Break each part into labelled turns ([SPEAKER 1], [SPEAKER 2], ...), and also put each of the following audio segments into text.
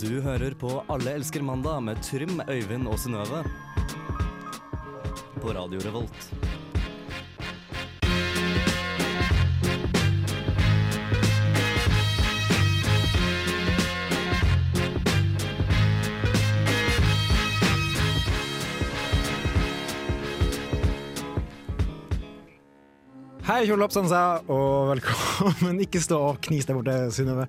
[SPEAKER 1] Du hører på Alle elsker mandag med Trym, Øyvind og Synnøve. På Radio Revolt.
[SPEAKER 2] Hei, kjolappsansa, og velkommen Ikke stå og knis der borte, Synnøve.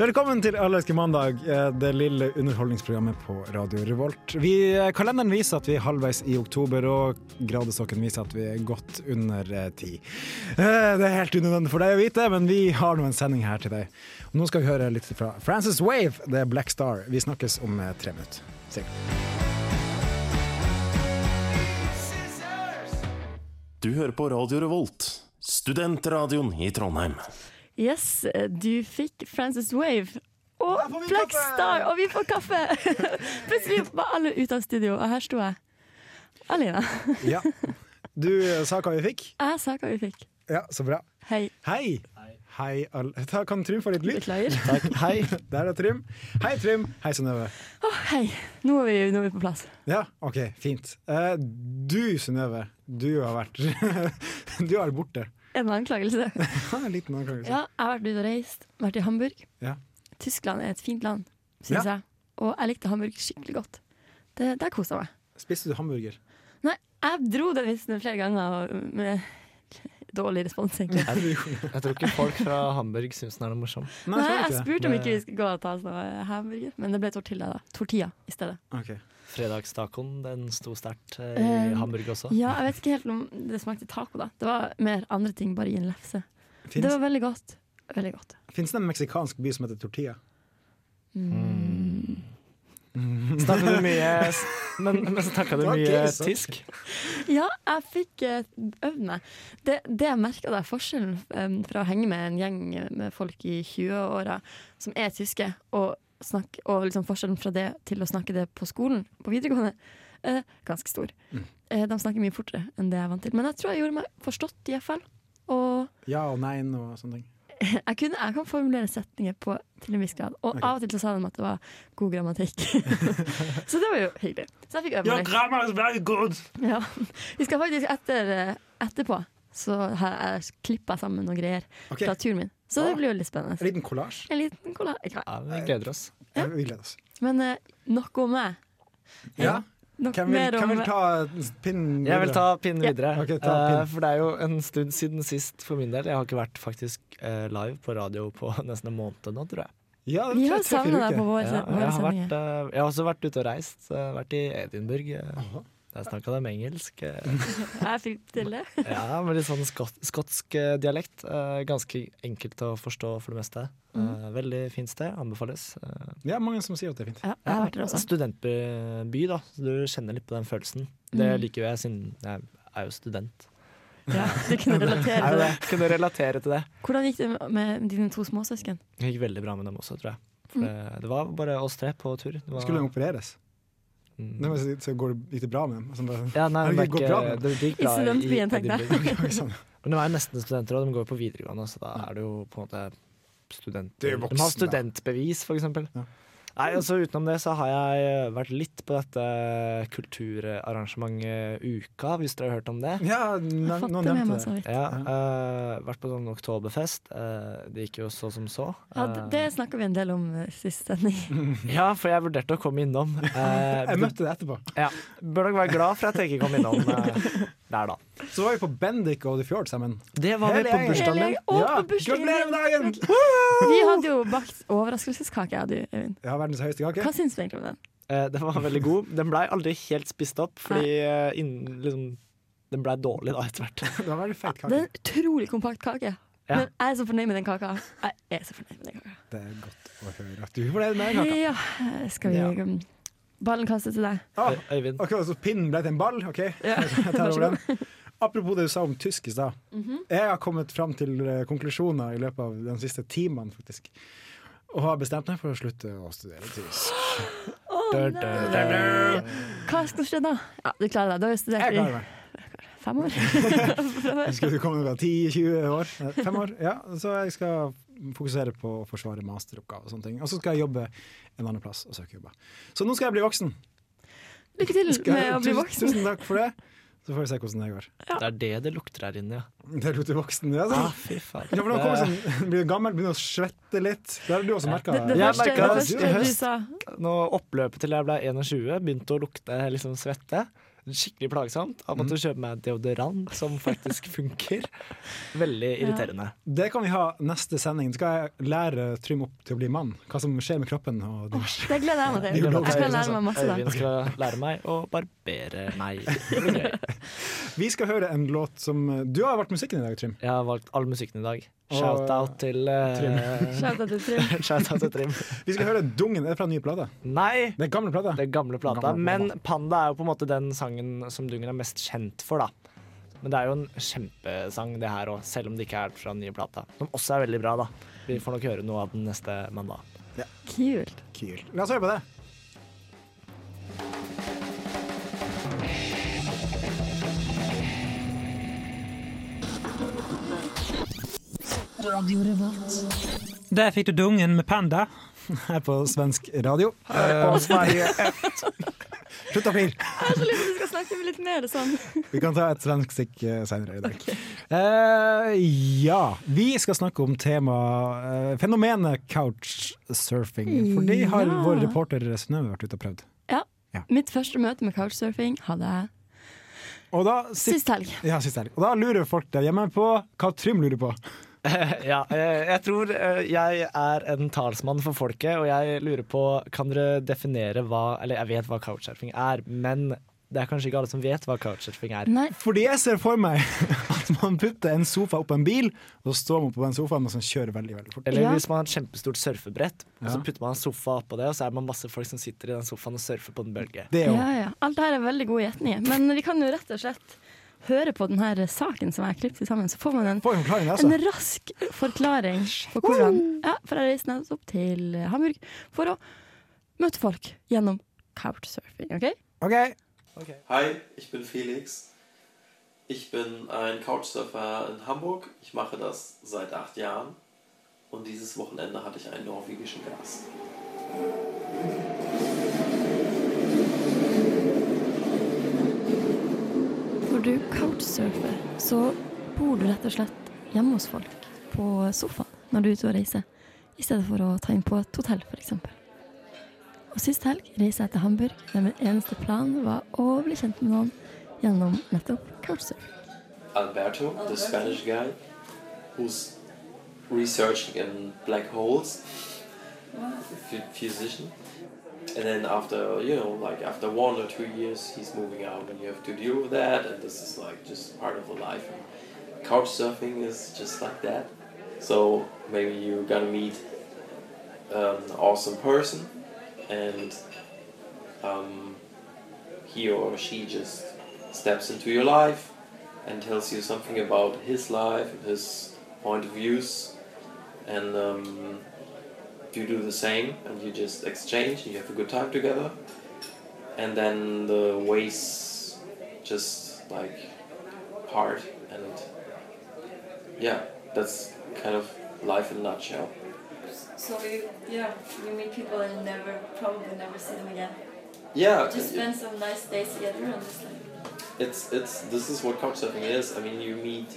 [SPEAKER 2] Velkommen til Allerske mandag, eh, det lille underholdningsprogrammet på Radio Revolt. Vi, eh, kalenderen viser at vi er halvveis i oktober, og gradestokken viser at vi er godt under eh, ti. Eh, Det er helt unødvendig for deg å vite, men vi har nå en sending her til deg. Og nå skal vi høre litt fra Frances Wave, det er Black Star. Vi snakkes om eh, tre minutter. Sikkert.
[SPEAKER 3] Du hører på Radio Revolt, studentradioen i Trondheim.
[SPEAKER 4] Yes, du fikk Frances Wave og
[SPEAKER 2] vi
[SPEAKER 4] Black
[SPEAKER 2] kaffe!
[SPEAKER 4] Star, og vi får kaffe! Plutselig var alle ute av studio, og her sto jeg. Alene.
[SPEAKER 2] Ja. Du eh, sa hva vi fikk?
[SPEAKER 4] Jeg sa hva vi fikk.
[SPEAKER 2] Ja, så bra.
[SPEAKER 4] Hei.
[SPEAKER 2] Hei! Hei, alle. Ta- Kan Trym få litt lyd?
[SPEAKER 4] Beklager.
[SPEAKER 2] Takk. Hei, der er Trym. Hei, Trym. Hei, Synnøve.
[SPEAKER 4] Å, hei. Nå er, vi, nå er vi på plass.
[SPEAKER 2] Ja, OK, fint. Eh, du, Synnøve, du har vært Du har vært borte.
[SPEAKER 4] En anklagelse.
[SPEAKER 2] Ha En liten liksom. anklagelse.
[SPEAKER 4] Ja, jeg har vært ute og reist. Vært i Hamburg.
[SPEAKER 2] Ja.
[SPEAKER 4] Tyskland er et fint land, syns
[SPEAKER 2] Ja.
[SPEAKER 4] jeg. Og jeg likte Hamburg skikkelig godt. Det, der kosa jeg meg.
[SPEAKER 2] Spiste du hamburger?
[SPEAKER 4] Nei, jeg dro den vitsen flere ganger og- med dårlig respons, egentlig.
[SPEAKER 5] Jeg tror ikke folk fra Hamburg syns den er noe morsom.
[SPEAKER 2] Nei, jeg
[SPEAKER 4] Nei, jeg
[SPEAKER 2] tror ikke det.
[SPEAKER 4] spurte om
[SPEAKER 5] Det-
[SPEAKER 4] ikke vi skulle gå og ta oss noe hamburger, men det ble tortilla, da. tortilla i stedet.
[SPEAKER 2] Ok.
[SPEAKER 5] Fredagstacoen den sto sterkt eh, i
[SPEAKER 4] Eh,
[SPEAKER 5] Hamburg også.
[SPEAKER 4] Ja, jeg vet ikke helt om det smakte taco, da. Det var mer andre ting, bare i en lefse. Det
[SPEAKER 2] Fins
[SPEAKER 4] var veldig godt. Veldig godt.
[SPEAKER 2] fins det en meksikansk by som heter Tortilla?
[SPEAKER 5] Snakka du mye s- Men, men snakka du
[SPEAKER 2] Det var
[SPEAKER 5] mye
[SPEAKER 2] gøy, sant?
[SPEAKER 5] tysk?
[SPEAKER 4] Ja, jeg fikk eh, øvd meg. Det, det jeg merka da, forskjellen em, fra å henge med en gjeng med folk i 20-åra som er tyske, og, snakk, og liksom forskjellen fra det til å snakke det på skolen, på videregående, eh, ganske stor. Eh, de snakker mye fortere enn det jeg er vant til. Men jeg tror jeg gjorde meg forstått, i hvert fall. Og
[SPEAKER 2] Ja og nei og sånne ting.
[SPEAKER 4] jeg, kunne, jeg kan formulere setninger på til en viss grad. Og av og til så sa de at det var god grammatikk. så det var jo hyggelig. Så jeg fikk øve meg.
[SPEAKER 3] grammar is very good!
[SPEAKER 4] Ja. Vi skal faktisk etter, etterpå. Så har jeg klippa sammen noen greier
[SPEAKER 2] Ok.
[SPEAKER 4] fra turen min. Så det
[SPEAKER 2] Ah.
[SPEAKER 4] blir jo litt
[SPEAKER 2] En
[SPEAKER 4] spennende.
[SPEAKER 2] liten kollasj.
[SPEAKER 4] En liten kolla. Ikke
[SPEAKER 5] Ja, vi gleder oss.
[SPEAKER 2] Ja. Vi gleder oss.
[SPEAKER 4] Men eh, nok om meg.
[SPEAKER 2] Ja.
[SPEAKER 4] Nok
[SPEAKER 2] Hvem vil,
[SPEAKER 4] mer om
[SPEAKER 2] hvem vil
[SPEAKER 4] meg.
[SPEAKER 2] ta pinnen?
[SPEAKER 5] Jeg vil ta pinnen
[SPEAKER 4] Ja.
[SPEAKER 5] videre.
[SPEAKER 2] Ok, ta pinnen.
[SPEAKER 5] Eh, for det er jo en stund siden sist for min del. Jeg har ikke vært faktisk eh, live på radio på nesten en måned nå, tror jeg.
[SPEAKER 2] Ja,
[SPEAKER 4] Vi har savna deg
[SPEAKER 5] Ja,
[SPEAKER 4] på våre,
[SPEAKER 5] jeg,
[SPEAKER 4] våre
[SPEAKER 5] har vært,
[SPEAKER 4] sendinger.
[SPEAKER 5] eh, jeg har også vært ute og reist. eh, vært i Edinburgh. eh, der snakka de engelsk. eh,
[SPEAKER 4] Jeg fikk til det.
[SPEAKER 5] Ja, med litt sånn skot skotsk eh, dialekt. Eh, ganske enkelt å forstå for det meste. Eh,
[SPEAKER 4] Mhm.
[SPEAKER 5] veldig fint sted, anbefales. Eh,
[SPEAKER 2] Ja, mange som sier at det er fint.
[SPEAKER 4] Ja, jeg har vært der også.
[SPEAKER 5] Studentby, da, så du kjenner litt på den følelsen. Det
[SPEAKER 4] Mhm.
[SPEAKER 5] liker jo jeg, siden jeg er jo student.
[SPEAKER 4] Ja, du kunne relatere til det.
[SPEAKER 5] Kunne relatere til det.
[SPEAKER 4] Hvordan gikk det med dine to småsøsken?
[SPEAKER 5] Det gikk veldig bra med dem også, tror jeg.
[SPEAKER 4] Mhm.
[SPEAKER 5] For det, det var bare oss tre på tur. Det var,
[SPEAKER 2] Skulle de opereres?
[SPEAKER 5] Mm.
[SPEAKER 2] Nei, men så, så går det, gikk det bra med dem? Og så bare,
[SPEAKER 5] ja, nei, men
[SPEAKER 2] Herregud,
[SPEAKER 5] det,
[SPEAKER 2] går bra
[SPEAKER 5] er ikke-
[SPEAKER 2] med
[SPEAKER 5] det gikk
[SPEAKER 4] I
[SPEAKER 5] bra i
[SPEAKER 4] studentbyen, tenkte jeg.
[SPEAKER 5] Edinburgh.
[SPEAKER 2] Ok, sånn.
[SPEAKER 5] Men de er jo nesten studenter, og de går jo på videregående, så da er det jo på en måte
[SPEAKER 2] Du er
[SPEAKER 5] studenter.
[SPEAKER 2] jo voksen,
[SPEAKER 5] De har
[SPEAKER 2] da.
[SPEAKER 5] studentbevis, for eksempel.
[SPEAKER 2] Ja.
[SPEAKER 5] Nei, altså Utenom det så har jeg eh, vært litt på dette kulturarrangementet Uka, hvis dere har hørt om det.
[SPEAKER 2] Ja,
[SPEAKER 4] Jeg
[SPEAKER 2] nev-
[SPEAKER 4] fatter
[SPEAKER 2] noen
[SPEAKER 4] med meg
[SPEAKER 2] nevnte
[SPEAKER 4] så
[SPEAKER 2] det.
[SPEAKER 4] vidt.
[SPEAKER 5] Ja, eh, Vært på sånn oktoberfest. eh, det gikk jo så som så.
[SPEAKER 4] Ja, d- det snakka vi en del om eh, sist sending.
[SPEAKER 5] Eh, ja, for jeg vurderte å komme innom. Eh,
[SPEAKER 2] Jeg møtte det etterpå.
[SPEAKER 5] ja. Bør dere være glad for at jeg ikke kom innom eh, der, da.
[SPEAKER 2] Så var vi på Bendik og The Fjord sammen.
[SPEAKER 5] Det var vi
[SPEAKER 2] Hele
[SPEAKER 5] på
[SPEAKER 2] gjengen.
[SPEAKER 5] bursdagen min.
[SPEAKER 4] Hele- Å, på bursdagen
[SPEAKER 2] Gratulerer med
[SPEAKER 4] din!
[SPEAKER 2] dagen!
[SPEAKER 4] Vi hadde jo bakt overraskelseskake, jeg og du, Øyvind.
[SPEAKER 2] Ja, verdens høyeste kake.
[SPEAKER 4] Hva syns vi egentlig om den?
[SPEAKER 5] Eh, Den var veldig god. Den blei aldri helt spist opp, fordi eh, innen, liksom, den blei dårlig da etter hvert.
[SPEAKER 2] Det var veldig feit
[SPEAKER 4] Det er
[SPEAKER 2] kake.
[SPEAKER 4] en utrolig kompakt kake.
[SPEAKER 5] Ja.
[SPEAKER 4] Men jeg er så fornøyd med den kaka. Jeg er så fornøyd med den kaka.
[SPEAKER 2] Det er godt å høre at du ble med kaka.
[SPEAKER 4] Ja, skal vi
[SPEAKER 5] Ja.
[SPEAKER 4] um, Ballen kastes til deg.
[SPEAKER 2] Ah,
[SPEAKER 5] Øy- Øyvind.
[SPEAKER 2] ok, så pinnen ble til en ball. Ok, jeg tar
[SPEAKER 4] Vær så
[SPEAKER 2] over
[SPEAKER 4] god.
[SPEAKER 2] den.
[SPEAKER 4] Mhm.
[SPEAKER 2] Apropos det du sa om tysk i stad. Jeg har kommet fram til eh, konklusjoner i løpet av den siste timen, faktisk. Og har bestemt meg for å slutte å studere tysk.
[SPEAKER 4] Hva skal skje da? Ja, du klarer deg. Du har jo studert
[SPEAKER 2] Jeg
[SPEAKER 4] i
[SPEAKER 2] klarer meg.
[SPEAKER 4] fem år.
[SPEAKER 2] Skulle du komme fra 10-20 år? Eh, Fem år, ja. Så jeg skal fokusere på å forsvare masteroppgave og sånne ting. Og så skal jeg jobbe en annen plass og søke jobber. Så nå skal jeg bli voksen.
[SPEAKER 4] Lykke til
[SPEAKER 2] Skal
[SPEAKER 4] med
[SPEAKER 2] jeg-
[SPEAKER 4] å bli
[SPEAKER 2] tusen,
[SPEAKER 4] voksen.
[SPEAKER 2] Tusen takk for det. Så får vi se hvordan det går.
[SPEAKER 5] Det er det det lukter her inne, ja.
[SPEAKER 2] Det lukter voksen. Ja,
[SPEAKER 5] Ah,
[SPEAKER 2] sånn.
[SPEAKER 5] fy faen. Eh,
[SPEAKER 2] ja, for når man kommer sånn, blir gammel, begynner å svette litt. Det har du også merka.
[SPEAKER 4] Det, det,
[SPEAKER 5] Jeg
[SPEAKER 4] første, det
[SPEAKER 5] merket
[SPEAKER 4] første
[SPEAKER 5] i
[SPEAKER 4] du
[SPEAKER 5] høst.
[SPEAKER 4] sa
[SPEAKER 5] Når oppløpet til jeg ble 21, begynte å lukte liksom svette. Skikkelig plagsomt. Jeg
[SPEAKER 2] Mm.
[SPEAKER 5] måtte kjøpe meg deodorant som faktisk funker. Veldig irriterende.
[SPEAKER 2] Det kan vi ha neste sending. Skal jeg lære Trym opp til å bli mann? Hva som skjer med kroppen og diverse.
[SPEAKER 4] Det gleder jeg meg til.
[SPEAKER 2] Biologisk
[SPEAKER 4] Jeg skal
[SPEAKER 2] øyne,
[SPEAKER 4] lære meg masse da.
[SPEAKER 5] Øyvind skal lære meg å barbere meg. Det blir gøy.
[SPEAKER 2] Vi skal høre en låt som Du har valgt musikken i dag, Trym.
[SPEAKER 5] Jeg har valgt all musikken i dag.
[SPEAKER 2] Og-
[SPEAKER 5] Shout-out til eh,
[SPEAKER 4] Shout out til Trym.
[SPEAKER 5] Shout-out til Trym.
[SPEAKER 2] Vi skal høre Dungen. Er det fra en ny plate?
[SPEAKER 5] Nei!
[SPEAKER 2] Det er gamle plate.
[SPEAKER 5] Det er gamle plata.
[SPEAKER 2] Gamle plata.
[SPEAKER 5] Men Panda er jo på en måte den sangen som Dungen er mest kjent for, da. Men det er jo en kjempesang, det her òg, selv om det ikke er fra den nye plata. Som også er veldig bra, da. Vi får nok høre noe av den neste mandag.
[SPEAKER 4] Kult.
[SPEAKER 2] Kyl. La oss høre på det.
[SPEAKER 6] Der fikk du dungen med panda.
[SPEAKER 2] Her på svensk radio. På Sverige Slutt å flire.
[SPEAKER 4] Jeg har så lyst til at du skal snakke med litt mer sånn.
[SPEAKER 2] Vi kan ta et svensk stikk eh, senere i dag. Eh, ja, vi skal snakke om tema eh, fenomenet couchsurfing. For det har
[SPEAKER 4] Ja.
[SPEAKER 2] vår reporter Synnøve vært ute og prøvd.
[SPEAKER 4] Mitt første møte med couchsurfing hadde jeg
[SPEAKER 2] Og da, sit,
[SPEAKER 4] sist helg.
[SPEAKER 2] ja, sist helg. Og da lurer folk der hjemme på hva Trym lurer på.
[SPEAKER 5] ja, eh, jeg tror eh, jeg er en talsmann for folket, og jeg lurer på Kan dere definere hva Eller jeg vet hva couchsurfing er, men det er kanskje ikke alle som vet hva couchsurfing er.
[SPEAKER 4] Nei,
[SPEAKER 2] Fordi jeg ser for meg at man putter en sofa opp en bil, og så står man på den sofaen og så kjører veldig veldig fort.
[SPEAKER 5] Eller
[SPEAKER 4] Ja.
[SPEAKER 5] hvis man har et kjempestort surfebrett, og så
[SPEAKER 2] Ja.
[SPEAKER 5] putter man en sofa oppå det, og så er man masse folk som sitter i den sofaen og surfer på en bølge.
[SPEAKER 2] Det er jo
[SPEAKER 4] ja, ja. Alt det her er veldig gode gjetninger. Men vi kan jo rett og slett høre på denne saken som jeg har klippet sammen, så får man en,
[SPEAKER 2] Får jo forklaring, det,
[SPEAKER 4] en
[SPEAKER 2] altså.
[SPEAKER 4] rask forklaring på hvordan Ja, for jeg reiste nettopp til Hamburg for å møte folk gjennom couchsurfing, OK?
[SPEAKER 2] Ok.
[SPEAKER 7] Hi, ich bin Felix. Ich bin ein Couchsurfer in Hamburg. Ich mache das seit acht Jahren. Und dieses Wochenende hatte ich einen norwegischen Gast.
[SPEAKER 4] Når du couchsurfer, så bor du rett og slett hjemme hos folk på sofaen når du er ute og reiser, i stedet for å ta inn på et hotell, f.eks. Og sist helg reiste jeg til Hamburg, der min eneste plan var å bli kjent med noen gjennom nettopp couchsurfing.
[SPEAKER 7] Alberto, the Spanish guy, who's researching in black holes, ph- physician. And then after, you know, like after one or two years, he's moving out and you have to deal with that. And this is like just part of the life. And couch surfing is just like that. So maybe you're gonna meet um, an awesome person and um, he or she just steps into your life and tells you something about his life, his point of views, and um, you do the same, and you just exchange, and you have a good time together, and then the ways just like part, and yeah, that's kind of life in a nutshell.
[SPEAKER 8] So you, yeah, you meet people and never, probably never see them again.
[SPEAKER 7] Yeah,
[SPEAKER 8] Just spend some nice days together and just like.
[SPEAKER 7] it's it's this is what couchsurfing is. I mean, you meet,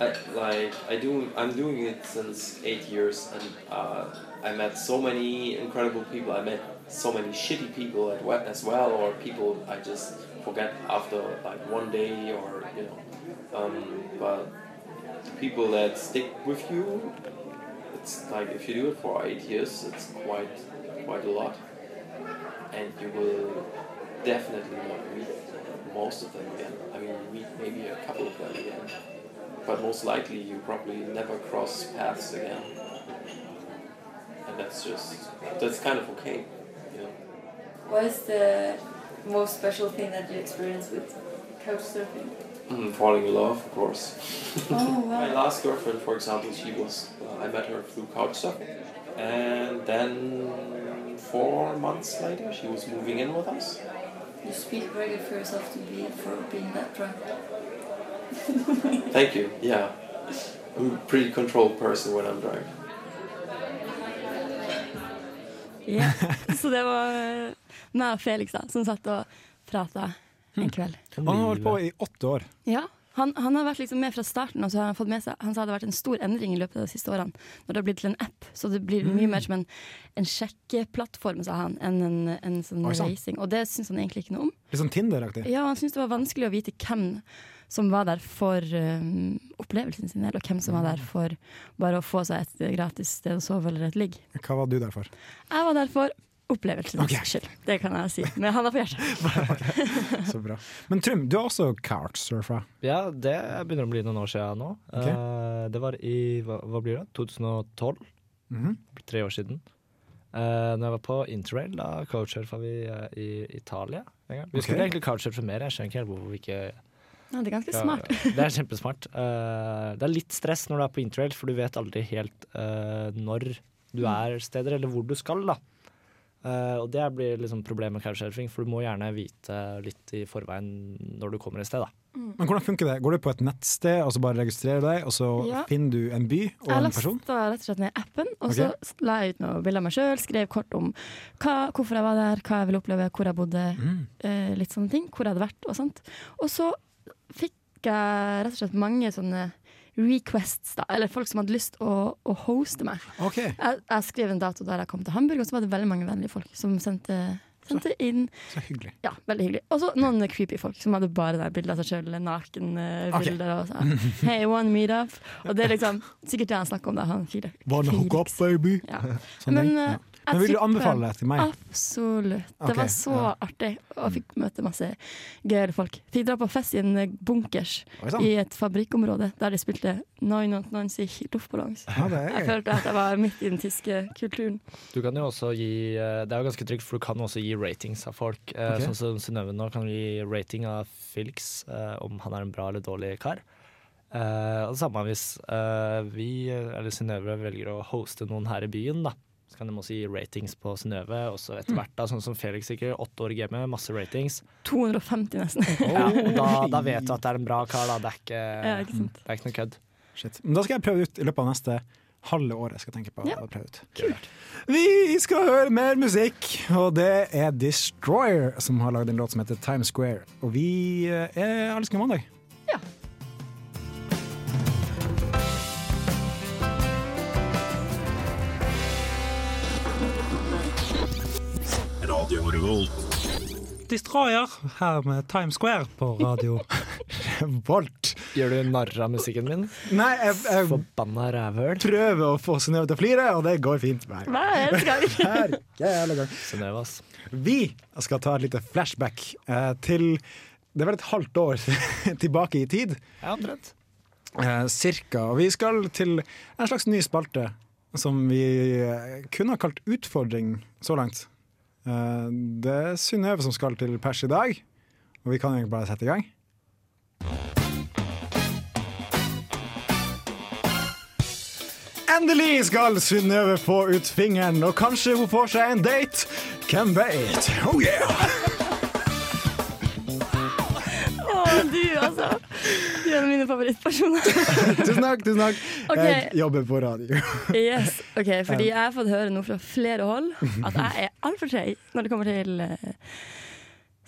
[SPEAKER 7] I, like I do. I'm doing it since eight years, and uh, I met so many incredible people. I met so many shitty people at, we- as well, or people I just forget after like one day, or you know. Um, but the people that stick with you, it's like if you do it for eight years, it's quite quite a lot, and you will definitely not meet most of them again. I mean, you meet maybe a couple of them again, but most likely you probably never cross paths again. And that's just that's kind of okay, you know.
[SPEAKER 8] What is the most special thing that you experience with couchsurfing?
[SPEAKER 7] Mm, falling in love, of course.
[SPEAKER 8] Oh
[SPEAKER 7] My
[SPEAKER 8] wow!
[SPEAKER 7] last girlfriend, for example, she was uh, I met her through couchsurfing, and then four months later she was moving in with us.
[SPEAKER 8] You speak very good for yourself to be for being that drunk.
[SPEAKER 7] Thank you. Yeah, I'm a pretty controlled person when I'm driving.
[SPEAKER 4] Ja. Så det var eh, meg og Felix da, som satt og prata en kveld.
[SPEAKER 2] Han har holdt på i åtte år.
[SPEAKER 4] Mm. Ja, han, han har vært liksom med fra starten, og så har han fått med seg Han sa det har vært en stor endring i løpet av de siste årene. Når det har blitt til en app, så det blir mye mer som en, en sjekkeplattform, sa han, enn en, en sånn
[SPEAKER 2] Oi, sant.
[SPEAKER 4] racing. Og det syns han egentlig ikke noe om.
[SPEAKER 2] Litt sånn Tinder-aktig.
[SPEAKER 4] Ja, han syntes det var vanskelig å vite hvem som var der for um, opplevelsen sin, eller hvem som var der for bare å få seg et gratis sted å sove eller et ligg.
[SPEAKER 2] Hva var du der for?
[SPEAKER 4] Jeg var der for opplevelsens
[SPEAKER 2] Ok.
[SPEAKER 4] skyld, det kan jeg si. Med handa på hjertet.
[SPEAKER 2] Så bra. Men Trym, du har også couchsurfa.
[SPEAKER 5] Ja, det begynner å bli noen år siden nå.
[SPEAKER 2] Ok.
[SPEAKER 5] Eh, det var i hva, hva blir det? 2012?
[SPEAKER 2] Mhm.
[SPEAKER 5] Tre år siden. Uh, når jeg var på interrail, da couchsurfa vi eh, i Italia. en gang. Vi
[SPEAKER 2] Ok.
[SPEAKER 5] skulle egentlig couchsurfe mer, jeg skjønner ikke helt hvorfor vi ikke
[SPEAKER 4] Ja, det er ganske
[SPEAKER 5] Ja,
[SPEAKER 4] smart.
[SPEAKER 5] Det er kjempesmart. Eh, det er litt stress når du er på interrail, for du vet aldri helt eh, når du
[SPEAKER 4] Mm.
[SPEAKER 5] er steder, eller hvor du skal, da. Eh, og det blir liksom problemet med couchsurfing, for du må gjerne vite litt i forveien når du kommer et sted, da.
[SPEAKER 2] Men hvordan funker det? Går du på et nettsted og så bare registrerer du deg, og så
[SPEAKER 4] Ja.
[SPEAKER 2] finner du en by og
[SPEAKER 4] Jeg
[SPEAKER 2] en
[SPEAKER 4] lasta
[SPEAKER 2] person?
[SPEAKER 4] rett og slett ned appen, og
[SPEAKER 2] Ok.
[SPEAKER 4] så la jeg ut noen bilder av meg sjøl. Skrev kort om hva, hvorfor jeg var der, hva jeg ville oppleve, hvor jeg bodde,
[SPEAKER 2] Mm.
[SPEAKER 4] eh, litt sånne ting. Hvor jeg hadde vært og sånt. Og så fikk jeg rett og slett mange sånne requests, da, eller folk som hadde lyst å, å hoste meg.
[SPEAKER 2] Ok,
[SPEAKER 4] Jeg, jeg skrev en dato der jeg kom til Hamburg, og så var det veldig mange vennlige folk som sendte, sendte inn.
[SPEAKER 2] så hyggelig.
[SPEAKER 4] Ja, veldig hyggelig. Og så noen creepy folk som hadde bare der bilder av seg sjøl,
[SPEAKER 2] Ok.
[SPEAKER 4] nakenbilder og så, Hey, one meet up. Og det er liksom sikkert det han snakker om, da, han Fide- Felix.
[SPEAKER 2] baby?
[SPEAKER 4] Ja.
[SPEAKER 2] Sånn
[SPEAKER 4] Men,
[SPEAKER 2] ting.
[SPEAKER 4] eh,
[SPEAKER 2] ja. Men vil du
[SPEAKER 4] jeg tipper-
[SPEAKER 2] anbefale det til meg?
[SPEAKER 4] Absolutt.
[SPEAKER 2] Ok,
[SPEAKER 4] Det var så
[SPEAKER 2] ja.
[SPEAKER 4] artig, og fikk møte masse gøyale folk. Fikk dra på fest i en eh, bunkers
[SPEAKER 2] Oi sånn. sann.
[SPEAKER 4] i et fabrikkområde der de spilte 999 i luftballongs.
[SPEAKER 2] Ja, det
[SPEAKER 4] Jeg
[SPEAKER 2] er gøy.
[SPEAKER 4] følte at jeg var midt i den tyske kulturen.
[SPEAKER 5] Du kan jo også gi eh, Det er jo ganske trygt, for du kan også gi ratings av folk. Eh,
[SPEAKER 2] Ok.
[SPEAKER 5] Sånn som Synnøve nå kan gi rating av Felix, eh, om han er en bra eller dårlig kar. Eh, og det samme hvis eh, vi, eh, eller Synnøve, velger å hoste noen her i byen, da. Så kan de også gi ratings på Synnøve, også etter hvert, da, sånn som Felix sikkert. Åtte år gamet, masse ratings.
[SPEAKER 4] 250 nesten.
[SPEAKER 5] Ja, og da, da vet du at det er en bra kar, da. Det er ikke, mm,
[SPEAKER 4] Ja, ikke sant.
[SPEAKER 5] det er ikke noe kødd.
[SPEAKER 2] Shit. Men da skal jeg prøve ut i løpet av neste halve året. Jeg skal tenke på
[SPEAKER 4] Ja.
[SPEAKER 2] å prøve ut.
[SPEAKER 5] Kult.
[SPEAKER 2] Vi skal høre mer musikk, og det er Destroyer som har lagd en låt som heter Times Square. Og vi eh, er Allsken mandag.
[SPEAKER 4] Ja.
[SPEAKER 6] Destroyer her med Times Square på radio.
[SPEAKER 2] Volt.
[SPEAKER 5] Gjør du narr av musikken min?
[SPEAKER 2] Nei, jeg, jeg
[SPEAKER 5] Forbanna rævhøl.
[SPEAKER 2] prøver å få Synnøve til å flire, og det går fint med meg.
[SPEAKER 4] Hver eneste gang.
[SPEAKER 2] Her, jævla gang.
[SPEAKER 5] Synnøve, ass.
[SPEAKER 2] Vi skal ta et lite flashback eh, til Det var et halvt år tilbake i tid,
[SPEAKER 5] Ja, omtrent.
[SPEAKER 2] eh, cirka. Og vi skal til en slags ny spalte som vi eh, kunne ha kalt Utfordring så langt. Eh, det er Synnøve som skal til pers i dag, og vi kan egentlig bare sette i gang. Endelig skal Synnøve få ut fingeren, og kanskje hun får seg en date. Hvem vet? Oh yeah!
[SPEAKER 4] Å, du, altså. Du er en av mine favorittpersoner.
[SPEAKER 2] Tusen takk, tusen takk.
[SPEAKER 4] Ok.
[SPEAKER 2] Jeg jobber på radio.
[SPEAKER 4] Yes, ok, fordi jeg har fått høre nå fra flere hold at jeg er altfor treig når det kommer til eh,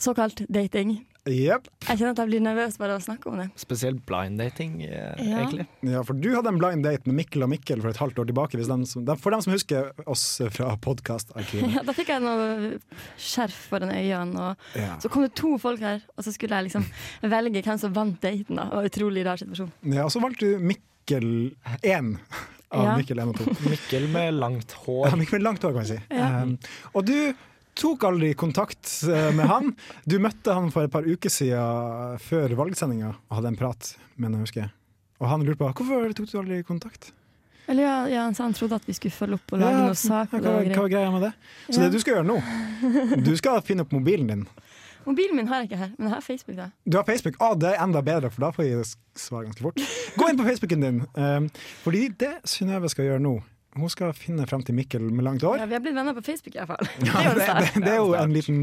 [SPEAKER 4] såkalt dating.
[SPEAKER 2] Jep.
[SPEAKER 4] Jeg kjenner at jeg blir nervøs bare av å snakke om det.
[SPEAKER 5] Spesielt blind dating, eh,
[SPEAKER 4] Ja.
[SPEAKER 5] egentlig.
[SPEAKER 2] Ja, for du hadde en blind date med Mikkel og Mikkel for et halvt år tilbake. Hvis dem som, dem- for dem som husker oss fra podkastarkivet.
[SPEAKER 4] Ja, da fikk jeg noe skjerf foran øynene, og
[SPEAKER 2] Ja.
[SPEAKER 4] så kom det to folk her, og så skulle jeg liksom velge hvem som vant daten, da. Det var en utrolig rar situasjon.
[SPEAKER 2] Ja, og så valgte du Mikkel 1 av
[SPEAKER 4] Ja.
[SPEAKER 2] Mikkel 1 og 2.
[SPEAKER 5] Mikkel med langt
[SPEAKER 2] Ja,
[SPEAKER 5] hår.
[SPEAKER 2] Mikkel med langt hår, kan vi si. Um, og du tok aldri kontakt eh, med han. Du møtte han for et par uker siden eh, før valgsendinga og hadde en prat, mener jeg husker. Og han lurte på hvorfor tok du aldri kontakt.
[SPEAKER 4] Eller ja, ja han sa han trodde at vi skulle følge opp og lage noe sak.
[SPEAKER 2] hva,
[SPEAKER 4] og
[SPEAKER 2] hva
[SPEAKER 4] lage
[SPEAKER 2] var greia med det? Så
[SPEAKER 4] Ja.
[SPEAKER 2] det du skal gjøre nå, du skal finne opp mobilen din.
[SPEAKER 4] greier. Mobilen min har jeg ikke her, men jeg har Facebook, da.
[SPEAKER 2] Du har Facebook. Ah, det er enda bedre, for da får jeg svar ganske fort. Gå inn på Facebooken din. Um, fordi det Synnøve skal gjøre nå Hun skal finne frem til Mikkel med langt hår.
[SPEAKER 4] Ja, vi har blitt venner på Facebook, i hvert fall.
[SPEAKER 2] Ja, det, det, det er jo en liten,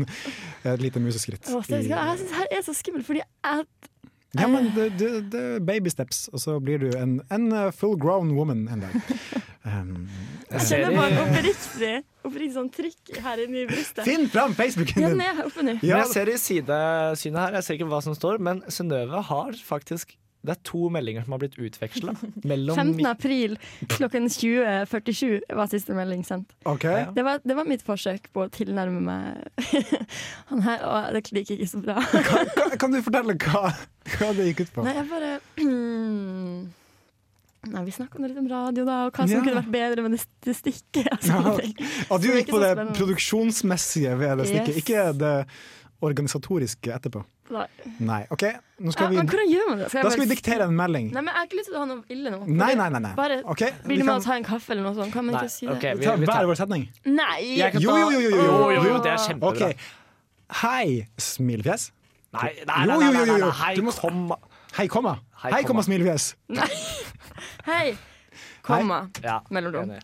[SPEAKER 2] et lite museskritt.
[SPEAKER 4] Åh, seriøst,
[SPEAKER 2] i-
[SPEAKER 4] Jeg syns det her er så skummelt, fordi jeg,
[SPEAKER 2] Ja, men det, det, det er baby steps, og så blir du en, en full grown woman en dag. Um,
[SPEAKER 4] Jeg kjenner på en oppriktig, oppriktig sånn trykk her inne i brystet.
[SPEAKER 2] finn fram Facebooken
[SPEAKER 4] Ja,
[SPEAKER 2] din!
[SPEAKER 4] den er oppe nå.
[SPEAKER 5] Men
[SPEAKER 2] Ja,
[SPEAKER 5] jeg ser i sidesynet her, jeg ser ikke hva som står, men Synnøve har faktisk Det er to meldinger som har blitt utveksla.
[SPEAKER 4] 15. april klokken 20.47 var siste melding sendt.
[SPEAKER 2] ok.
[SPEAKER 5] Ja.
[SPEAKER 4] Det var, det var mitt forsøk på å tilnærme meg han her, og det gikk ikke så bra.
[SPEAKER 2] Kan, kan du fortelle hva, hva det gikk ut på?
[SPEAKER 4] Nei, jeg bare Nei, Vi snakka litt om radio, da, og hva som
[SPEAKER 2] Ja.
[SPEAKER 4] kunne vært bedre med det, det stikket. og
[SPEAKER 2] Ja,
[SPEAKER 4] sånne
[SPEAKER 2] ok.
[SPEAKER 4] ting.
[SPEAKER 2] At du
[SPEAKER 4] Så det er
[SPEAKER 2] gikk
[SPEAKER 4] ikke
[SPEAKER 2] på
[SPEAKER 4] så
[SPEAKER 2] det
[SPEAKER 4] spennende.
[SPEAKER 2] produksjonsmessige ved det stikket,
[SPEAKER 4] Yes.
[SPEAKER 2] ikke det organisatoriske etterpå.
[SPEAKER 4] Nei.
[SPEAKER 2] Nei, OK, nå
[SPEAKER 4] Ja,
[SPEAKER 2] skal vi,
[SPEAKER 4] men hvordan gjør man det?
[SPEAKER 2] da skal vi diktere en melding.
[SPEAKER 4] Nei, men Jeg har ikke lyst til å ha noe ille nå.
[SPEAKER 2] Nei, nei, nei. nei.
[SPEAKER 4] Bare
[SPEAKER 2] Ok, vi
[SPEAKER 4] Vil du med
[SPEAKER 2] kan-
[SPEAKER 4] å ta en kaffe eller noe sånt? Kan man
[SPEAKER 5] Nei,
[SPEAKER 4] ikke si det?
[SPEAKER 5] ok,
[SPEAKER 2] Vi
[SPEAKER 5] vi,
[SPEAKER 2] tar
[SPEAKER 5] vi
[SPEAKER 2] hver
[SPEAKER 5] tar.
[SPEAKER 2] vår setning.
[SPEAKER 4] Nei!
[SPEAKER 5] Jeg kan
[SPEAKER 2] Jo,
[SPEAKER 5] ta-
[SPEAKER 2] jo, jo, jo, jo.
[SPEAKER 5] Jo, jo, jo, det er
[SPEAKER 2] OK.
[SPEAKER 5] kjempebra.
[SPEAKER 2] Hei, smilefjes.
[SPEAKER 5] Nei, nei,
[SPEAKER 2] Jo,
[SPEAKER 5] nei,
[SPEAKER 2] jo,
[SPEAKER 5] nei,
[SPEAKER 2] jo,
[SPEAKER 5] nei,
[SPEAKER 2] jo.
[SPEAKER 5] nei, hei,
[SPEAKER 2] Du må-
[SPEAKER 5] kom
[SPEAKER 2] Hei, komma.
[SPEAKER 5] Hei,
[SPEAKER 2] Hei, komma,
[SPEAKER 5] komma.
[SPEAKER 2] smilefjes.
[SPEAKER 4] Hei! Komma.
[SPEAKER 5] ja,
[SPEAKER 4] Mellomrom.
[SPEAKER 5] enig.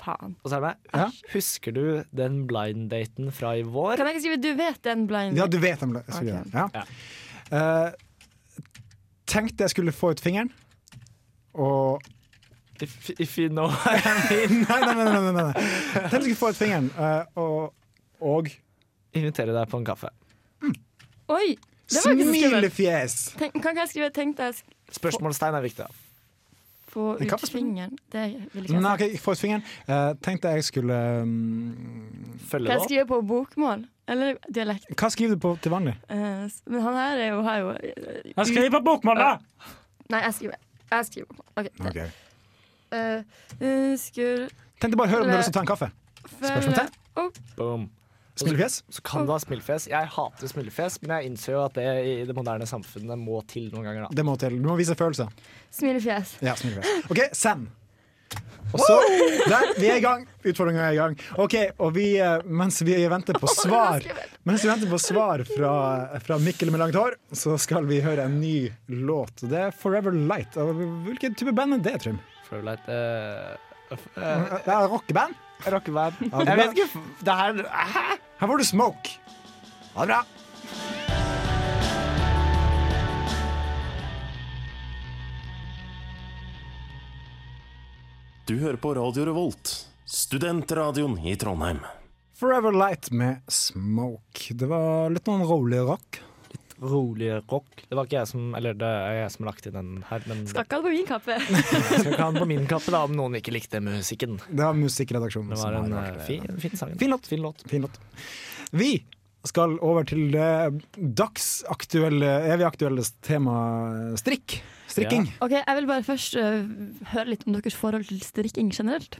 [SPEAKER 4] Faen.
[SPEAKER 5] Og så er det meg.
[SPEAKER 2] Ja.
[SPEAKER 5] Husker du den blind-daten fra i vår?
[SPEAKER 4] Kan jeg ikke skrive 'du vet den blind'?
[SPEAKER 2] Ja, du vet om det. Så
[SPEAKER 4] Ok.
[SPEAKER 2] gjør jeg. Ja. Eh, tenkte jeg skulle få ut fingeren, og
[SPEAKER 5] If, if you know
[SPEAKER 2] Nei, nei, nei. nei, nei, nei. Tenkte jeg skulle få ut fingeren, eh, og, og
[SPEAKER 5] Invitere deg på en kaffe.
[SPEAKER 4] Oi! Det var ikke så skummelt.
[SPEAKER 2] Smilefjes!
[SPEAKER 4] Tenk- Kan ikke jeg skrive 'tenkte jeg sk-
[SPEAKER 5] Spørsmålstegn er viktig. da.
[SPEAKER 4] få
[SPEAKER 2] Men
[SPEAKER 4] ut
[SPEAKER 2] kaffe-
[SPEAKER 4] fingeren'? Det vil ikke jeg
[SPEAKER 2] Nei,
[SPEAKER 4] si.
[SPEAKER 2] ok, få ut fingeren. Eh, tenkte jeg skulle mm,
[SPEAKER 5] Følge
[SPEAKER 4] Kan jeg
[SPEAKER 5] det opp.
[SPEAKER 4] skrive på bokmål? Eller dialekt?
[SPEAKER 2] Hva skriver du på til vanlig?
[SPEAKER 4] Eh, s- Men han her er jo, har jo eh,
[SPEAKER 6] Jeg skriver bokmål, da!
[SPEAKER 4] Nei, jeg skriver. Jeg skriver bokmål. OK. Eh, eh, skulle
[SPEAKER 2] Tenkte bare høre om du har lyst til å ta en kaffe.
[SPEAKER 4] følge
[SPEAKER 2] Spørsmålstegn?
[SPEAKER 4] opp
[SPEAKER 5] Boom.
[SPEAKER 2] Smilefjes?
[SPEAKER 5] Så kan du ha smilefjes. Jeg hater smilefjes, men jeg innser jo at det i det moderne samfunnet må til noen ganger. da
[SPEAKER 2] Det må til. Du må vise følelser.
[SPEAKER 4] smilefjes.
[SPEAKER 2] Ja, smilefjes. OK, send. Og så, der, Vi er i gang! Utfordringa er i gang. Ok, og vi, eh, Mens vi venter på svar Mens vi venter på svar fra, fra Mikkel med langt hår, så skal vi høre en ny låt. Det er 'Forever Light'. Og Hvilken type band er det, Trym?
[SPEAKER 5] Følelight uh, uh,
[SPEAKER 2] Det er Rockeband?
[SPEAKER 5] Rockeband.
[SPEAKER 2] det
[SPEAKER 5] Eh, Jeg vet ikke. Det her Hæ?
[SPEAKER 2] Her får du Smoke. Ha det bra.
[SPEAKER 3] Du hører på Radio Revolt, studentradioen i Trondheim.
[SPEAKER 2] Forever Light med Smoke. Det var litt noen rolig rock.
[SPEAKER 5] Rolig rock. Det var ikke jeg som Eller det er jeg som har lagt inn den her, men
[SPEAKER 4] Stakk han på min kappe?
[SPEAKER 5] Jeg skal ikke ha den på min kappe da om noen ikke likte musikken.
[SPEAKER 2] Det var musikkredaksjonen.
[SPEAKER 5] Det
[SPEAKER 2] som
[SPEAKER 5] var en
[SPEAKER 2] har
[SPEAKER 5] eh,
[SPEAKER 2] valgt det.
[SPEAKER 5] fin, fin sang.
[SPEAKER 2] Fin låt.
[SPEAKER 5] Fin låt.
[SPEAKER 2] Fin låt. Vi skal over til det dagsaktuelle, evig aktuelle temaet strikk. Strikking.
[SPEAKER 4] OK, jeg vil bare først eh, høre litt om deres forhold til strikking generelt.